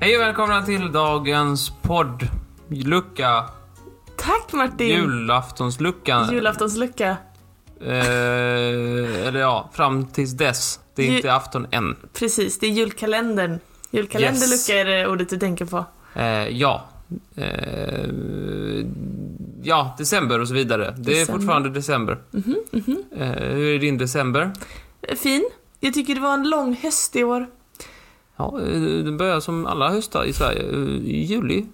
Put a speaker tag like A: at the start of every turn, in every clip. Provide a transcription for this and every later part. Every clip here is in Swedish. A: Hej och välkomna till dagens podd. Lucka.
B: Tack Martin!
A: Julaftonsluckan.
B: Julaftonslucka.
A: Eh, eller ja, fram tills dess. Det är
B: Ju-
A: inte afton än.
B: Precis, det är julkalendern. Julkalenderlucka
A: Yes.
B: är det ordet du tänker på.
A: Eh, ja. Eh, ja, december och så vidare. Det är
B: December.
A: fortfarande december. Eh, hur är din december?
B: Mhm. Fin. Jag tycker det var en lång höst i år.
A: Ja, eh, den börjar som alla höstar i Sverige, eh, i juli.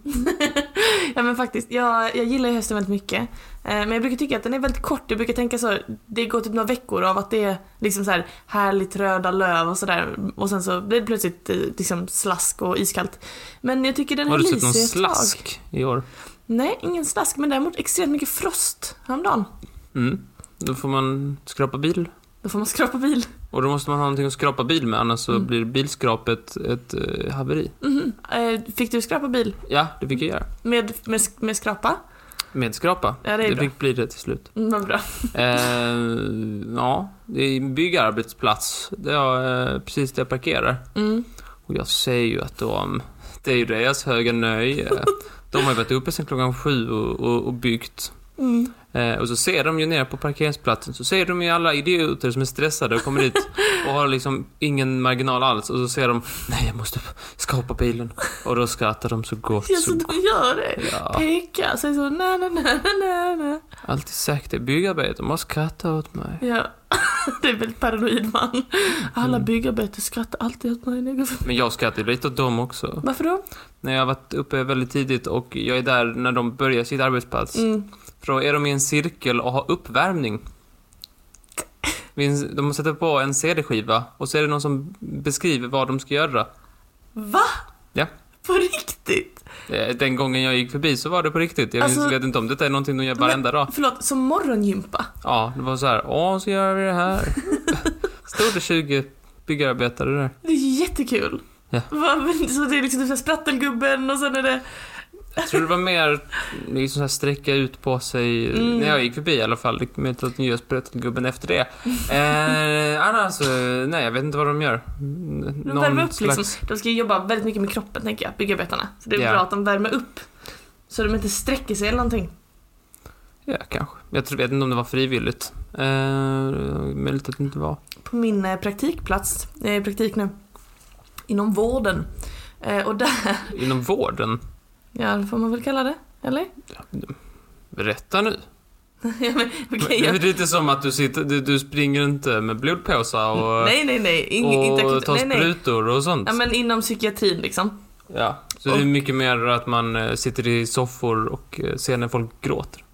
B: Ja men faktiskt, jag, jag gillar ju hösten väldigt mycket. Eh, Men jag brukar tycka att den är väldigt kort. Jag brukar tänka så, det går typ några veckor av att det är liksom så här härligt röda löv och sådär. Och sen så blir det plötsligt eh, liksom slask och iskallt. Men jag tycker den
A: Har
B: här
A: du sett
B: lyser
A: någon
B: ett tag.
A: slask i år?
B: Nej, ingen slask. Men däremot extremt mycket frost häromdagen.
A: Mm. Då får man skrapa bil.
B: Då får man skrapa bil.
A: Och då måste man ha någonting att skrapa bil med, annars
B: Mm.
A: så blir bilskrapet ett eh, haveri.
B: Mhm. Eh, Fick du skrapa bil?
A: Ja, det fick jag göra.
B: Med, med, med skrapa?
A: Med skrapa.
B: Ja, det är
A: det
B: bra.
A: fick bli det till slut.
B: Mm, Vad bra.
A: Eh, ja, det är en byggarbetsplats där jag, eh, precis där jag parkerar.
B: Mm.
A: Och jag säger ju att de, det är ju deras höga nöje. De har ju varit uppe sedan klockan sju och, och, och byggt.
B: Mm.
A: Eh, och så ser de ju nere på parkeringsplatsen, så ser de ju alla idioter som är stressade och kommer dit och har liksom ingen marginal alls. Och så ser de, nej jag måste skapa bilen. Och då skrattar de så gott.
B: Ja, så
A: Så,
B: de gör det.
A: ja.
B: Peka, säger så nej, nej, nej, nej, nej.
A: Alltid sagt det, byggarbete, de har skrattat åt mig.
B: Ja. Det är väldigt paranoid man. Alla
A: Mm.
B: byggarbetare skrattar alltid åt mig när jag går förbi.
A: Men jag skrattar lite åt dem också.
B: Varför då?
A: När jag har varit uppe väldigt tidigt och jag är där när de börjar sitt arbetspass.
B: Mm.
A: För då är de i en cirkel och har uppvärmning. Min- De sätter på en CD-skiva och så är det någon som beskriver vad de ska göra.
B: Va?
A: Ja.
B: På riktigt?
A: Eh, Den gången jag gick förbi så var det på riktigt. Jag
B: Alltså-
A: vet inte om detta är någonting de gör
B: Men-
A: varenda dag.
B: Förlåt, som morgongympa?
A: Ja, det var så här. Åh, så gör vi det här. Stod det 20 byggarbetare där.
B: Det är ju jättekul.
A: Ja.
B: Va, men, så det är liksom typ så här sprattelgubben och sen är det...
A: Jag tror det var mer liksom så här sträcka ut på sig eh,
B: Mm.
A: när jag gick förbi i alla fall. Det med att nya gubben efter det. Eh, annars, eh, nej jag vet inte vad de gör. Mm,
B: De värmer upp liksom. De ska ju jobba väldigt mycket med kroppen tänker jag, byggarbetarna. Så det är
A: Ja.
B: bra att de värmer upp. Så de inte sträcker sig eller någonting.
A: Ja, kanske. Jag tror, vet inte om det var frivilligt. Eh, möjligt att det inte var.
B: på min eh, praktikplats, jag är i praktik nu, inom vården. Eh, och där,
A: Inom vården?
B: ja det får man väl kalla det, eller?
A: Berätta nu.
B: ja, men, okej,
A: det är
B: jag,
A: lite som att du, sitter, du, du springer inte med blodpåsar och,
B: nej nej nej, ing, inte
A: och
B: akut,
A: tar
B: nej, nej.
A: sprutor och sånt.
B: Ja, men inom psykiatrin liksom.
A: Ja, så det är mycket mer att man eh, sitter i soffor och eh, ser när folk gråter.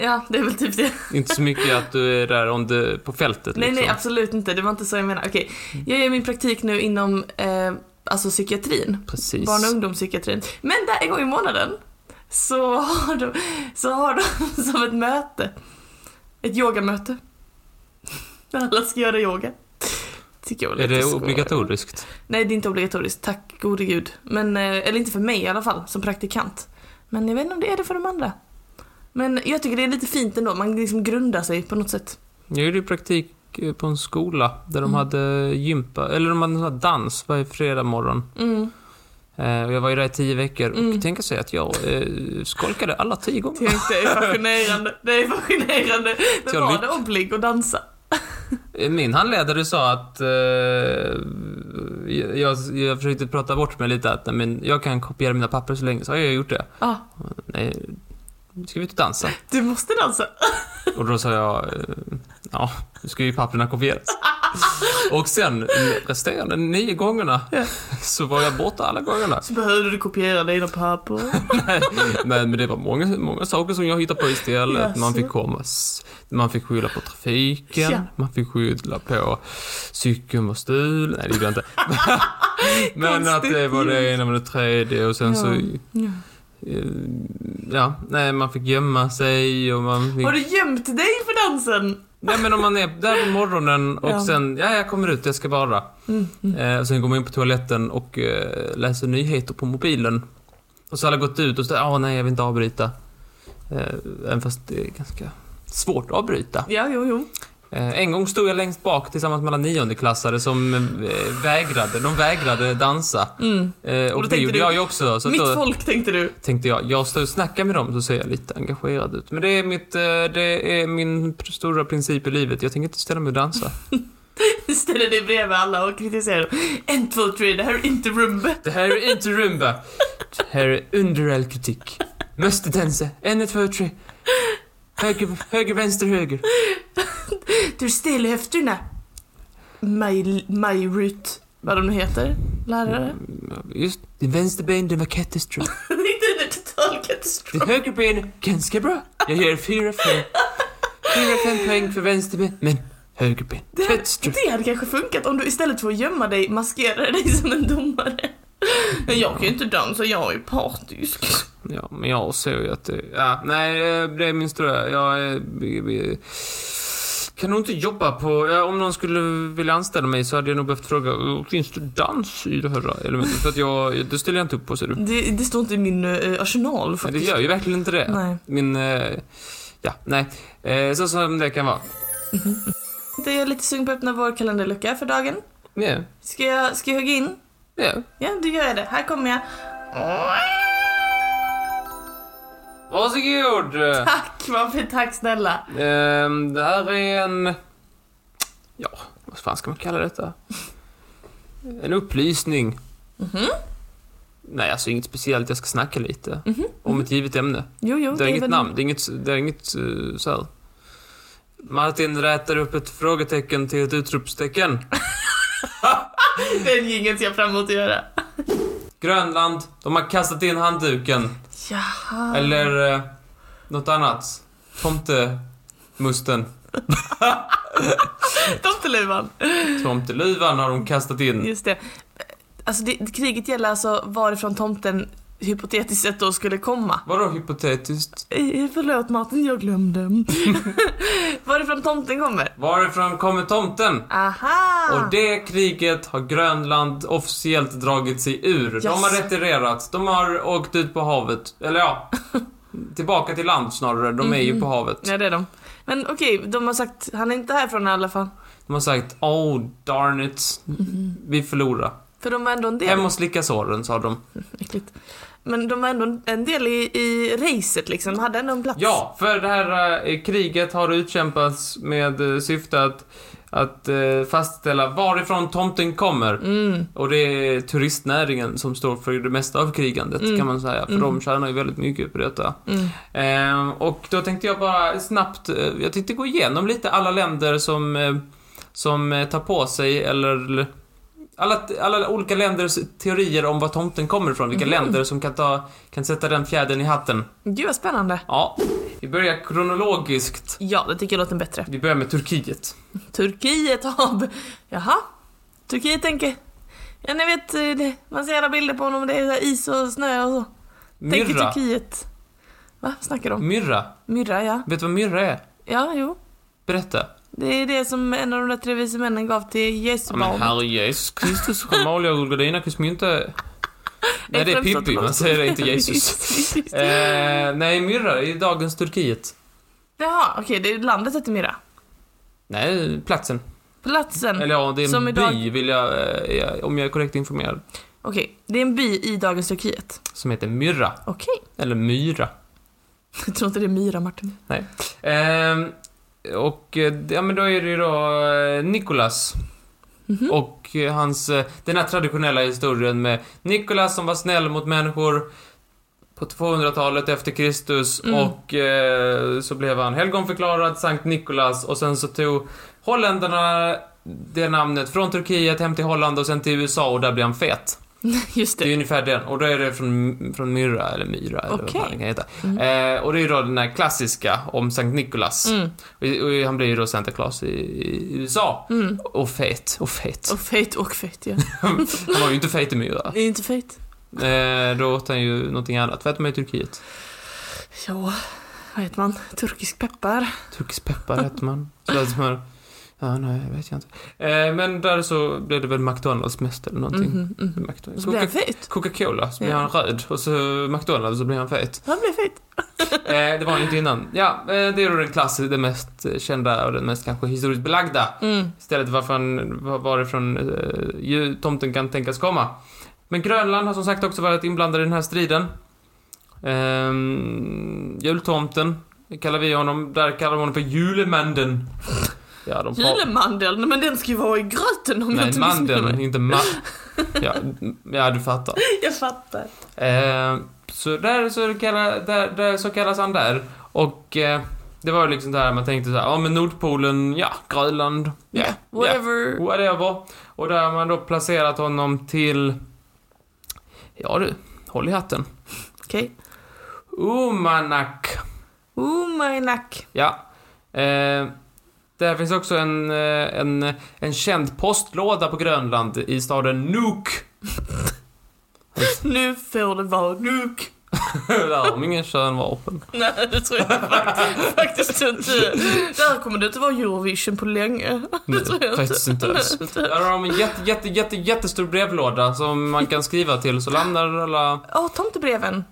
B: Ja, det är väl typ det.
A: Inte så mycket att du är där on the, på fältet
B: Nej,
A: liksom.
B: nej, absolut inte. Det var inte så jag menade. Okej, jag gör min praktik nu inom eh, alltså psykiatrin.
A: Precis.
B: Barn och ungdomspsykiatrin. Men där en gång i månaden så har de, så har de som ett möte. Ett yogamöte. Där alla ska göra yoga. Tycker jag var
A: Är
B: lite
A: det
B: skoj.
A: obligatoriskt?
B: Nej, det är inte obligatoriskt. Tack gode gud. Men, eh, eller inte för mig i alla fall, som praktikant. Men jag vet inte om det är det för de andra. Men jag tycker det är lite fint ändå. Man liksom grundar sig på något sätt.
A: Jag gjorde ju praktik eh, på en skola där de
B: Mm.
A: hade gympa, eller de hade en sån här dans varje fredag morgon.
B: Mm.
A: Eh, och jag var ju där i tio veckor och
B: Mm.
A: tänka sig att jag eh, skolkade alla tio gånger.
B: Tänk, Det är fascinerande. Det är fascinerande.
A: Så
B: Men var
A: mycket-
B: det oblig att dansa?
A: Eh, Min handledare sa att... Eh, jag, jag försökte prata bort mig lite att nej, men jag kan kopiera mina papper så länge, så har jag gjort det.
B: Ja, ah,
A: Nej, ska vi inte dansa?
B: du måste dansa.
A: Och då sa jag, eh, ja, nu ska ju papperna kopieras. Och sen resterande nio gångerna så var jag borta alla gångerna.
B: Så behövde du kopiera dina papper.
A: Nej, men men det var många, många saker som jag hittade på istället. Man fick komma, s- man fick skylla på trafiken,
B: Ja.
A: man fick skylla på cykeln var stulen. Nej, det gjorde jag inte. men att det var det ena med det tredje och sen så...
B: Ja.
A: eh, Ja, nej, man fick gömma sig och man fick...
B: Har du gömt dig för dansen?
A: Nej men om man är där på morgonen och
B: Ja.
A: sen, ja jag kommer ut, jag ska bara.
B: Mm, mm.
A: Eh, och sen går man in på toaletten och eh, läser nyheter på mobilen. Och så har alla gått ut och så, ah nej jag vill inte avbryta. Eh, även fast det är ganska svårt att avbryta.
B: Ja, jo, jo.
A: Eh, en gång stod jag längst bak tillsammans med alla niondeklassare som eh, vägrade, de vägrade dansa.
B: Mm.
A: Eh, och,
B: då
A: det
B: tänkte
A: gjorde
B: du,
A: jag ju också. Så att
B: Mitt
A: då
B: folk tänkte du.
A: tänkte jag, jag står och snackar med dem så ser jag lite engagerad ut. Men det är, mitt, eh, det är min pr- stora princip i livet, jag tänker inte ställa mig och dansa.
B: Ställer dig bredvid alla och kritiserar dem. En, två, tre, det här är inte rumba.
A: Det här är inte rumba. Det här är underall kritik. Måste dansa. En, två, tre. Höger, höger, vänster, höger.
B: Du stel i höfterna. Maj- Maj-Rut, vad de nu heter, lärare.
A: Mm. Just det, vänster ben, det var katastrof.
B: Det är inte en total katastrof.
A: Det höger ben, ganska bra. Jag ger fyra, fem. Fyra, fem poäng för vänster ben. Men höger ben, katastrof.
B: Det hade kanske funkat om du istället för att gömma dig maskerade dig som en domare. Men jag kan ju inte dansa, jag är ju partisk.
A: Ja, men jag ser ju att det... Ja, nej, eh, det är min stora... Jag är... vi- vi- Kan nog inte jobba på... Ja, om någon skulle vilja anställa mig så hade jag nog behövt fråga "Eh, Finns det dans i det här elementet? För att jag... Det ställer jag inte upp på, ser du.
B: Det, det står inte i min eh, arsenal
A: Men det
B: faktiskt.
A: gör ju verkligen inte det.
B: Nej.
A: Min... eh, Ja, nej. Eh, Så som det kan vara.
B: Det är lite sugen på att öppna vår kalenderlucka för dagen.
A: Ja,
B: Ska jag, ska jag hugga in?
A: ja.
B: Ja, då gör jag det. Här kommer jag.
A: Varsågod!
B: Tack, vad fint. Tack snälla.
A: Ehm, Det här är en... Ja, vad fan ska man kalla detta? En upplysning. Nej, alltså inget speciellt. Jag ska snacka lite. Om ett givet ämne.
B: Jo, jo.
A: det är inget
B: väl-
A: namn. Det är inget, det är inget eh, så här. Martin rätar upp ett frågetecken till ett utropstecken.
B: Det är en jingel jag fram emot att göra.
A: Grönland, de har kastat in handduken.
B: Jaha.
A: Eller eh, något annat. Tomtemusten.
B: Tomteluvan.
A: Tomteluvan har de kastat in.
B: Just det. Alltså, det, kriget gäller alltså varifrån tomten hypotetiskt sett då skulle komma.
A: Vadå hypotetiskt?
B: Eh, Förlåt Martin, jag glömde. varifrån tomten kommer?
A: Varifrån kommer tomten?
B: Aha!
A: Och det kriget har Grönland officiellt dragit sig ur. De har
B: Yes.
A: retirerat. De har åkt ut på havet. Eller ja, tillbaka till land snarare. De är ju på havet.
B: Mm. Ja, det är de. Men okej, de har sagt han är inte härifrån i alla fall.
A: De har sagt Oh darn it. Vi förlorar.
B: För de var ändå en del.
A: Hem och slicka såren, sa de.
B: Äckligt. Men de var ändå en del i, i racet liksom, de hade ändå en plats.
A: Ja, för det här eh, kriget har utkämpats med eh, syfte att, att eh, fastställa varifrån tomten kommer.
B: Mm.
A: Och det är turistnäringen som står för det mesta av krigandet
B: Mm.
A: kan man säga. För
B: Mm.
A: de tjänar ju väldigt mycket på detta.
B: Mm.
A: Ehm, och då tänkte jag bara snabbt, eh, jag tänkte gå igenom lite alla länder som, eh, som eh, tar på sig eller alla, alla olika länders teorier om var tomten kommer ifrån, vilka
B: Mm.
A: länder som kan, ta, kan sätta den fjädern i hatten.
B: Gud vad spännande.
A: Ja, vi börjar kronologiskt.
B: Ja, det tycker jag låter bättre.
A: Vi börjar med Turkiet.
B: Turkiet har... Jaha? Turkiet tänker... Ja, ni vet, eh, det- man ser alla bilder på honom, det är så här is och snö och så. Tänker
A: Myrra.
B: Turkiet. Va? Vad snackar de om?
A: Myrra.
B: Myrra, ja.
A: Vet du vad myrra är?
B: Ja, jo.
A: Berätta.
B: Det är det som en av de där tre vise männen gav till Jesu
A: Ja,
B: barn.
A: men herre Jesus Kristus, Amalia och Gudina kan ju inte... Nej, det är
B: Efraim sa
A: Pippi,
B: till
A: man
B: oss.
A: säger det inte Jesus.
B: Visst, visst.
A: eh, nej, myrra i dagens Turkiet.
B: Jaha, okej, det är landet heter Myrra.
A: Nej, platsen.
B: Platsen.
A: Eller ja, det är en
B: Mm. Som
A: by
B: idag-
A: vill jag, eh, jag- om jag är korrekt informerad.
B: Okej, det är en by i dagens Turkiet.
A: Som heter Myrra.
B: Okej.
A: Eller Myra.
B: Jag tror inte det är Myra, Martin.
A: Ehm, och eh, ja, men då är det ju då eh, Nikolas.
B: Mhm.
A: Och eh, hans, eh, den här traditionella historien med Nikolas som var snäll mot människor på 200-talet efter Kristus
B: Mm.
A: och eh, så blev han helgonförklarad, Sankt Nikolas och sen så tog holländarna det namnet från Turkiet hem till Holland och sen till USA och där blev han fet.
B: Just
A: Det är
B: det.
A: ungefär den och då är det från, från Myra eller Myra eller vad
B: Okej.
A: fan det kan heta. Eh, och det är ju då den här klassiska om Sankt Nikolas.
B: Mm.
A: Och, och han blir ju då Santa Claus i, i USA.
B: Mm.
A: Och fet, och fet.
B: Och fet och fet, ja.
A: Han var ju inte fet i Myra.
B: Är inte fet?
A: Eh, då åt han ju någonting annat. För att de är i Turkiet.
B: Ja. vad heter man? Turkisk peppar.
A: Turkisk peppar hette man. Så att man ja, nej, jag vet jag inte. Eh, men där så blev det väl McDonalds mest eller någonting.
B: Mhm, mhm.
A: McDonald's.
B: Så blir han
A: Coca-
B: fet.
A: Coca-Cola, så blir
B: Ja.
A: han röd. Och så McDonalds, så blir han fet.
B: Han blev fet.
A: Eh, det var han inte innan. Ja, eh, det är då den klassiska, den mest eh, kända och den mest kanske historiskt belagda.
B: Mm.
A: Istället varför han, var- varifrån eh, ju- tomten kan tänkas komma. Men Grönland har som sagt också varit inblandad i den här striden. Ehm, jultomten kallar vi honom. Där kallar man honom för Julemanden. Ja, de pra-
B: Julemandeln, men den ska ju vara i gröten om jag
A: Nej,
B: inte missminner
A: mandeln,
B: mig.
A: inte ma... Ja, m- ja, du fattar.
B: Jag fattar.
A: Eh, så där så, kalla, där, där så kallas han där. Och eh, det var ju liksom det här man tänkte så här, ja men Nordpolen, ja, Grönland, ja, yeah,
B: Whatever.
A: yeah, whatever. Och där har man då placerat honom till, ja du, håll i hatten.
B: Okej.
A: Umanak.
B: Oh my nack.
A: Ja. Eh, där finns också en, eh, en, en känd postlåda på Grönland i staden Nuuk.
B: Nu får det vara nog.
A: där har de ingen könvapen.
B: Nej, det tror jag fakt- faktiskt inte. Där kommer det inte vara Eurovision på länge. Det tror jag inte.
A: Faktiskt inte alls.
B: Nej, inte.
A: Där har de en jätte, jätte, jätte, jättestor brevlåda som man kan skriva till så landar alla
B: Åh, tomtebreven.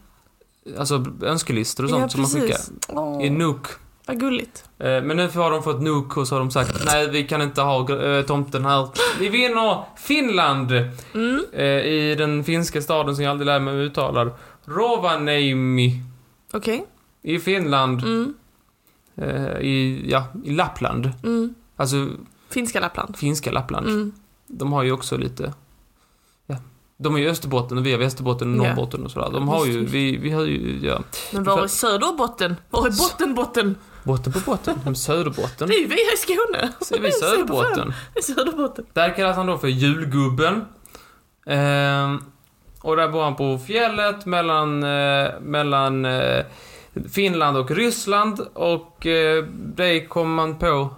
A: alltså, önskelistor och sånt som man skickar.
B: Åh,
A: I Nuuk.
B: vad gulligt.
A: Eh, Men nu har de fått Nuuk och så har de sagt nej vi kan inte ha eh, tomten här. Vi vinner Finland!
B: Mm.
A: eh, I den finska staden som jag aldrig lär mig hur jag uttalar. Rovaniemi
B: Okej.
A: i Finland.
B: Mm.
A: eh, I, ja, i Lappland.
B: Mm.
A: Alltså
B: Finska Lappland.
A: finska Lappland.
B: Mm.
A: De har ju också lite... Ja. De är ju Österbotten och vi är Västerbotten och
B: Ja.
A: Norrbotten och sådär. De har ju... Vi, vi har ju... Ja.
B: Men var är Söderbotten? Var är Bottenbotten?
A: Botten på botten. De Söderbotten.
B: Det är ju vi här i Skåne.
A: Så är vi Söderbotten.
B: Det är Söderbotten.
A: Där kallas han då för julgubben. Ehm, och där bor han på fjället mellan, eh, mellan eh, Finland och Ryssland. Och eh, det kom man på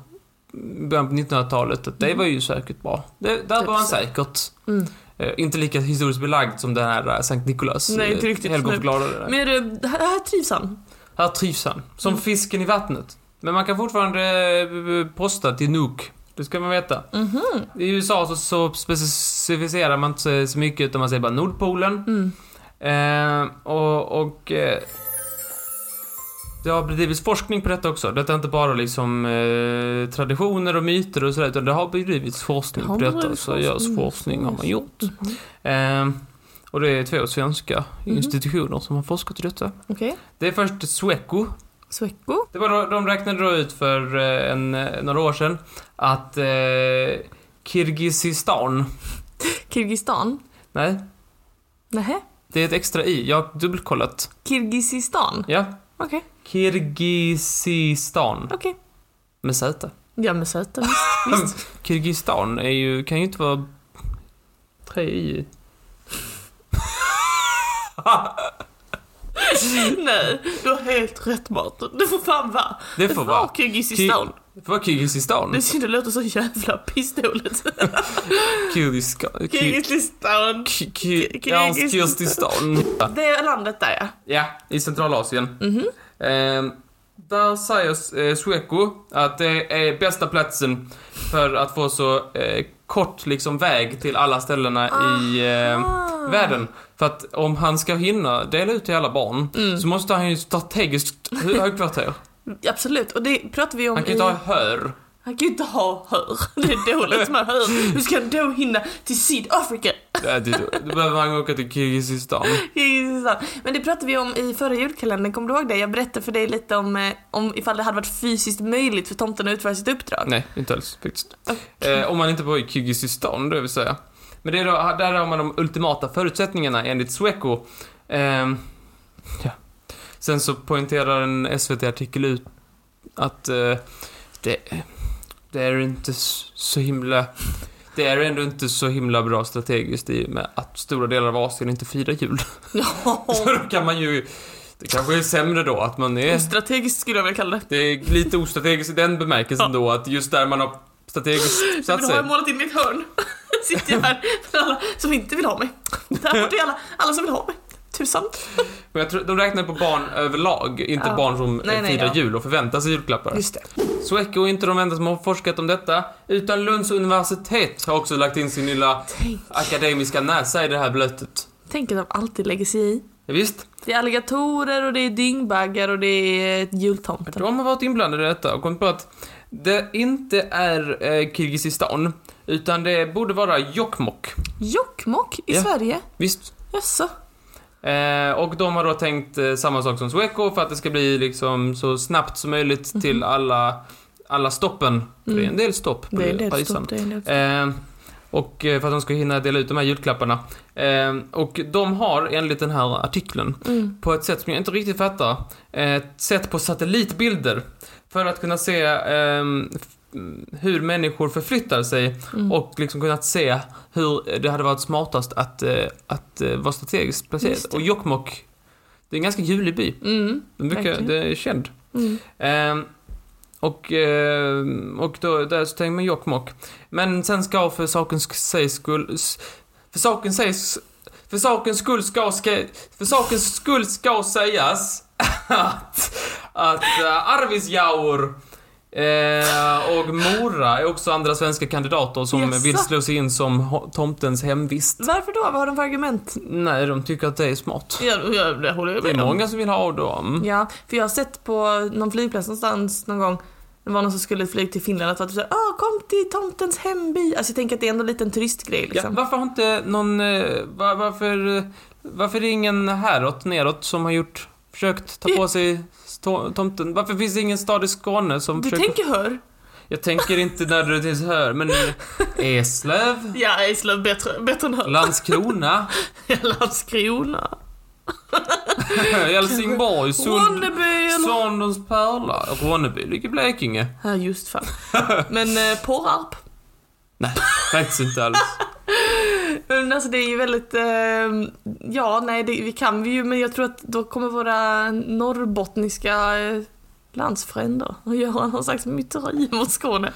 A: i början på 1900-talet att det var ju säkert bra. Det, där
B: Mm. Typ
A: var han
B: så.
A: säkert.
B: Mm.
A: Eh, inte lika historiskt belagd som den här eh, Sankt Nikolaus.
B: Nej, inte
A: eh,
B: riktigt.
A: helgonförklarade. det.
B: Men eh, här, här trivs han.
A: Här trivs han. Som
B: Mm.
A: fisken i vattnet. Men man kan fortfarande eh, posta till Nuuk. Det ska man veta.
B: Mhm.
A: I USA så, så specificerar man inte så mycket utan man säger bara Nordpolen.
B: Mm.
A: Eh, och... och eh, det har bedrivits forskning på detta också. Detta är inte bara liksom eh, traditioner och myter och sådär, utan det har bedrivits forskning
B: Det har
A: på detta.
B: bedrivits
A: Så görs
B: forskning.
A: forskning har man gjort.
B: Mhm.
A: Eh, och det är två svenska institutioner som har forskat i detta.
B: Okej.
A: Det är först Sweco.
B: Sweco.
A: Det var då, de räknade då ut för eh, en, eh, några år sedan att eh, Kirgizistan,
B: Kirgistan.
A: nej,
B: Nähä.
A: det är ett extra i, jag har dubbelkollat.
B: Kirgisistan.
A: Ja.
B: Okej.
A: Kirgizistan
B: Okej.
A: med Z.
B: Ja men söta. Visst.
A: Kirgizistan är ju, kan ju inte vara tre i.
B: Nej, du har helt rätt Martin. Det får fan vara.
A: Det får vara,
B: Kirgisistan.
A: det får vara Kirgizistan.
B: Det är synd det låter så jävla pistolet.
A: Kirgizistan. Ki-
B: Kirgisistan.
A: ki- ki-
B: Kirgis-
A: ja, alltså, Kirgizistan.
B: Det är landet där ja.
A: Ja, i Centralasien.
B: Mhm.
A: Eh, där säger eh, Sweco att det är bästa platsen för att få så eh, kort liksom väg till alla ställena i eh,
B: Ah.
A: världen. För att om han ska hinna dela ut till alla barn
B: Mm.
A: så måste han ju strategiskt hö- högkvarter.
B: Absolut, och det pratar vi om
A: Han kan ju
B: i...
A: inte ha hör.
B: Han kan ju inte ha hör. Det är dåligt med hör. Hur ska han då hinna till Sydafrika?
A: Nej, det- Då behöver han åka till Kirgizistan.
B: Kirgisistan. Men det pratade vi om i förra julkalendern, kommer du ihåg det? Jag berättade för dig lite om, eh, om ifall det hade varit fysiskt möjligt för tomten att utföra sitt uppdrag.
A: Nej, inte alls faktiskt. Eh, om man inte var i Kirgizistan, det vill säga. Men det är då, där har man de ultimata förutsättningarna enligt Sweco. Ehm, ja. Sen så poängterar en SVT-artikel ut att eh, det, det är inte s- så himla... Det är ändå inte så himla bra strategiskt i och med att stora delar av Asien inte firar jul. Så
B: Ja,
A: då kan man ju... Det kanske är sämre då att man är...
B: strategiskt skulle jag vilja kalla det.
A: Det är lite ostrategiskt i den bemärkelsen då att just där man har strategiskt
B: Men
A: satt
B: då har
A: sig.
B: jag målat in mitt hörn. Sitter jag här för alla som inte vill ha mig. Där borta är alla, alla som vill ha mig. tusan.
A: Men jag tror, de räknar på barn överlag, inte
B: Ja.
A: barn som eh,
B: Nej, nej,
A: firar
B: ja.
A: jul och förväntar sig julklappar.
B: Just det.
A: Sweco är inte de enda som har forskat om detta, utan Lunds universitet har också lagt in sin lilla
B: Tänk,
A: akademiska näsa i det här blötet.
B: tänk att de alltid lägger sig i.
A: Ja, visst,
B: Det är alligatorer och det är dyngbaggar och det är jultomten.
A: de har varit inblandade i detta och kommit på att det inte är eh, Kirgizistan, utan det borde vara Jokkmokk.
B: Jokkmokk i
A: Ja.
B: Sverige?
A: Visst?
B: Jaså?
A: Eh, och de har då tänkt eh, samma sak som Sweco för att det ska bli liksom så snabbt som möjligt till alla, alla stoppen. För det är en
B: Mhm. Mm.
A: del stopp på
B: Det är en
A: det- på
B: del
A: listan.
B: stopp, det är en del.
A: Eh, och eh, för att de ska hinna dela ut de här julklapparna. Eh, och de har enligt den här artikeln,
B: Mm.
A: på ett sätt som jag inte riktigt fattar, eh, sett på satellitbilder för att kunna se eh, f- hur människor förflyttar sig
B: Mm.
A: och liksom kunnat se hur det hade varit smartast att, eh, att eh, vara strategiskt placerat.
B: Just det.
A: Och Jokkmokk, det är en ganska julig by.
B: Mm.
A: Den är mycket,
B: Verkligen.
A: det är känd.
B: Mm.
A: Ehm, och, ehm, och då, där så tänker man Jokkmokk. Men sen ska för sakens sägs skull... s- För saken sägs... För sakens skull ska... ska för sakens skull ska sägas att, att eh, Arvidsjaur eh, och Mora är också andra svenska kandidater som
B: Jaså?
A: vill slå sig in som ho- tomtens hemvist.
B: Varför då? Vad har de för argument?
A: Nej, de tycker att det är smart.
B: Ja, ja, det håller jag
A: Det är
B: med om.
A: många som vill ha dem.
B: Ja, för jag har sett på någon flygplats någonstans någon gång det var någon som skulle flyga till Finland och att såhär, Åh, kom till tomtens hemby. Alltså jag tänker att det är ändå en liten turistgrej liksom.
A: Ja, varför har inte någon... eh, va- varför, eh, varför är det ingen häråt, neråt, som har gjort... Försökt ta på sig to- tomten. Varför finns det ingen stad i Skåne som
B: du
A: försöker...
B: tänker hör?
A: Jag tänker inte när du tills hör, men... Eslöv?
B: Ja, Eslöv bättre, bättre än hör.
A: Landskrona?
B: Landskrona.
A: Helsingborg? Sund,
B: Ronneby eller...
A: Sandens pärla? Ronneby ligger i Blekinge.
B: Ja, just fan. Men eh, Påarp.
A: Faktiskt inte alls.
B: Men alltså det är ju väldigt, eh, ja nej det vi kan vi ju men jag tror att då kommer våra norrbottniska eh, landsfränder att göra någon slags myteri mot Skåne.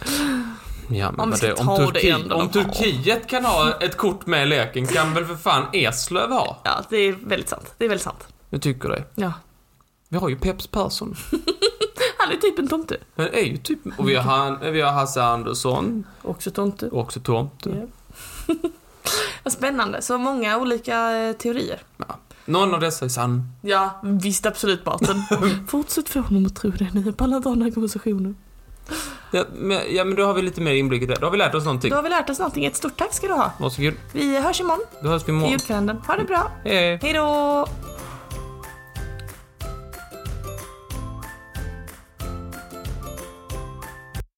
A: Ja, men
B: Om vi
A: vad
B: ska
A: det, om,
B: ta det
A: Turki-
B: ändå
A: om
B: de har.
A: Turkiet kan ha ett kort med i leken kan väl för fan Eslöv ha?
B: Ja, det är väldigt sant. Det är väldigt sant.
A: Jag tycker det.
B: Ja.
A: Vi har ju Peps Persson.
B: Han är typ en tomte.
A: Men det är ju typ... Och vi har, han, vi har Hasse Andersson,
B: Också tomte.
A: också tomte.
B: Ja. Vad spännande. Så många olika eh, teorier.
A: Någon av dessa är sann.
B: Ja, visst absolut Barton. Fortsätt få honom att tro det. Ni på alla dagarna konversationer.
A: Ja men, ja, men då har vi lite mer inblick i det. Då har vi lärt oss någonting.
B: Då har vi lärt oss någonting. Ett stort tack ska du ha.
A: Varsågod.
B: Vi hörs imorgon
A: Då hörs vi
B: i
A: imorgon.
B: julkalendern. Ha det bra.
A: Hej.
B: Hej då!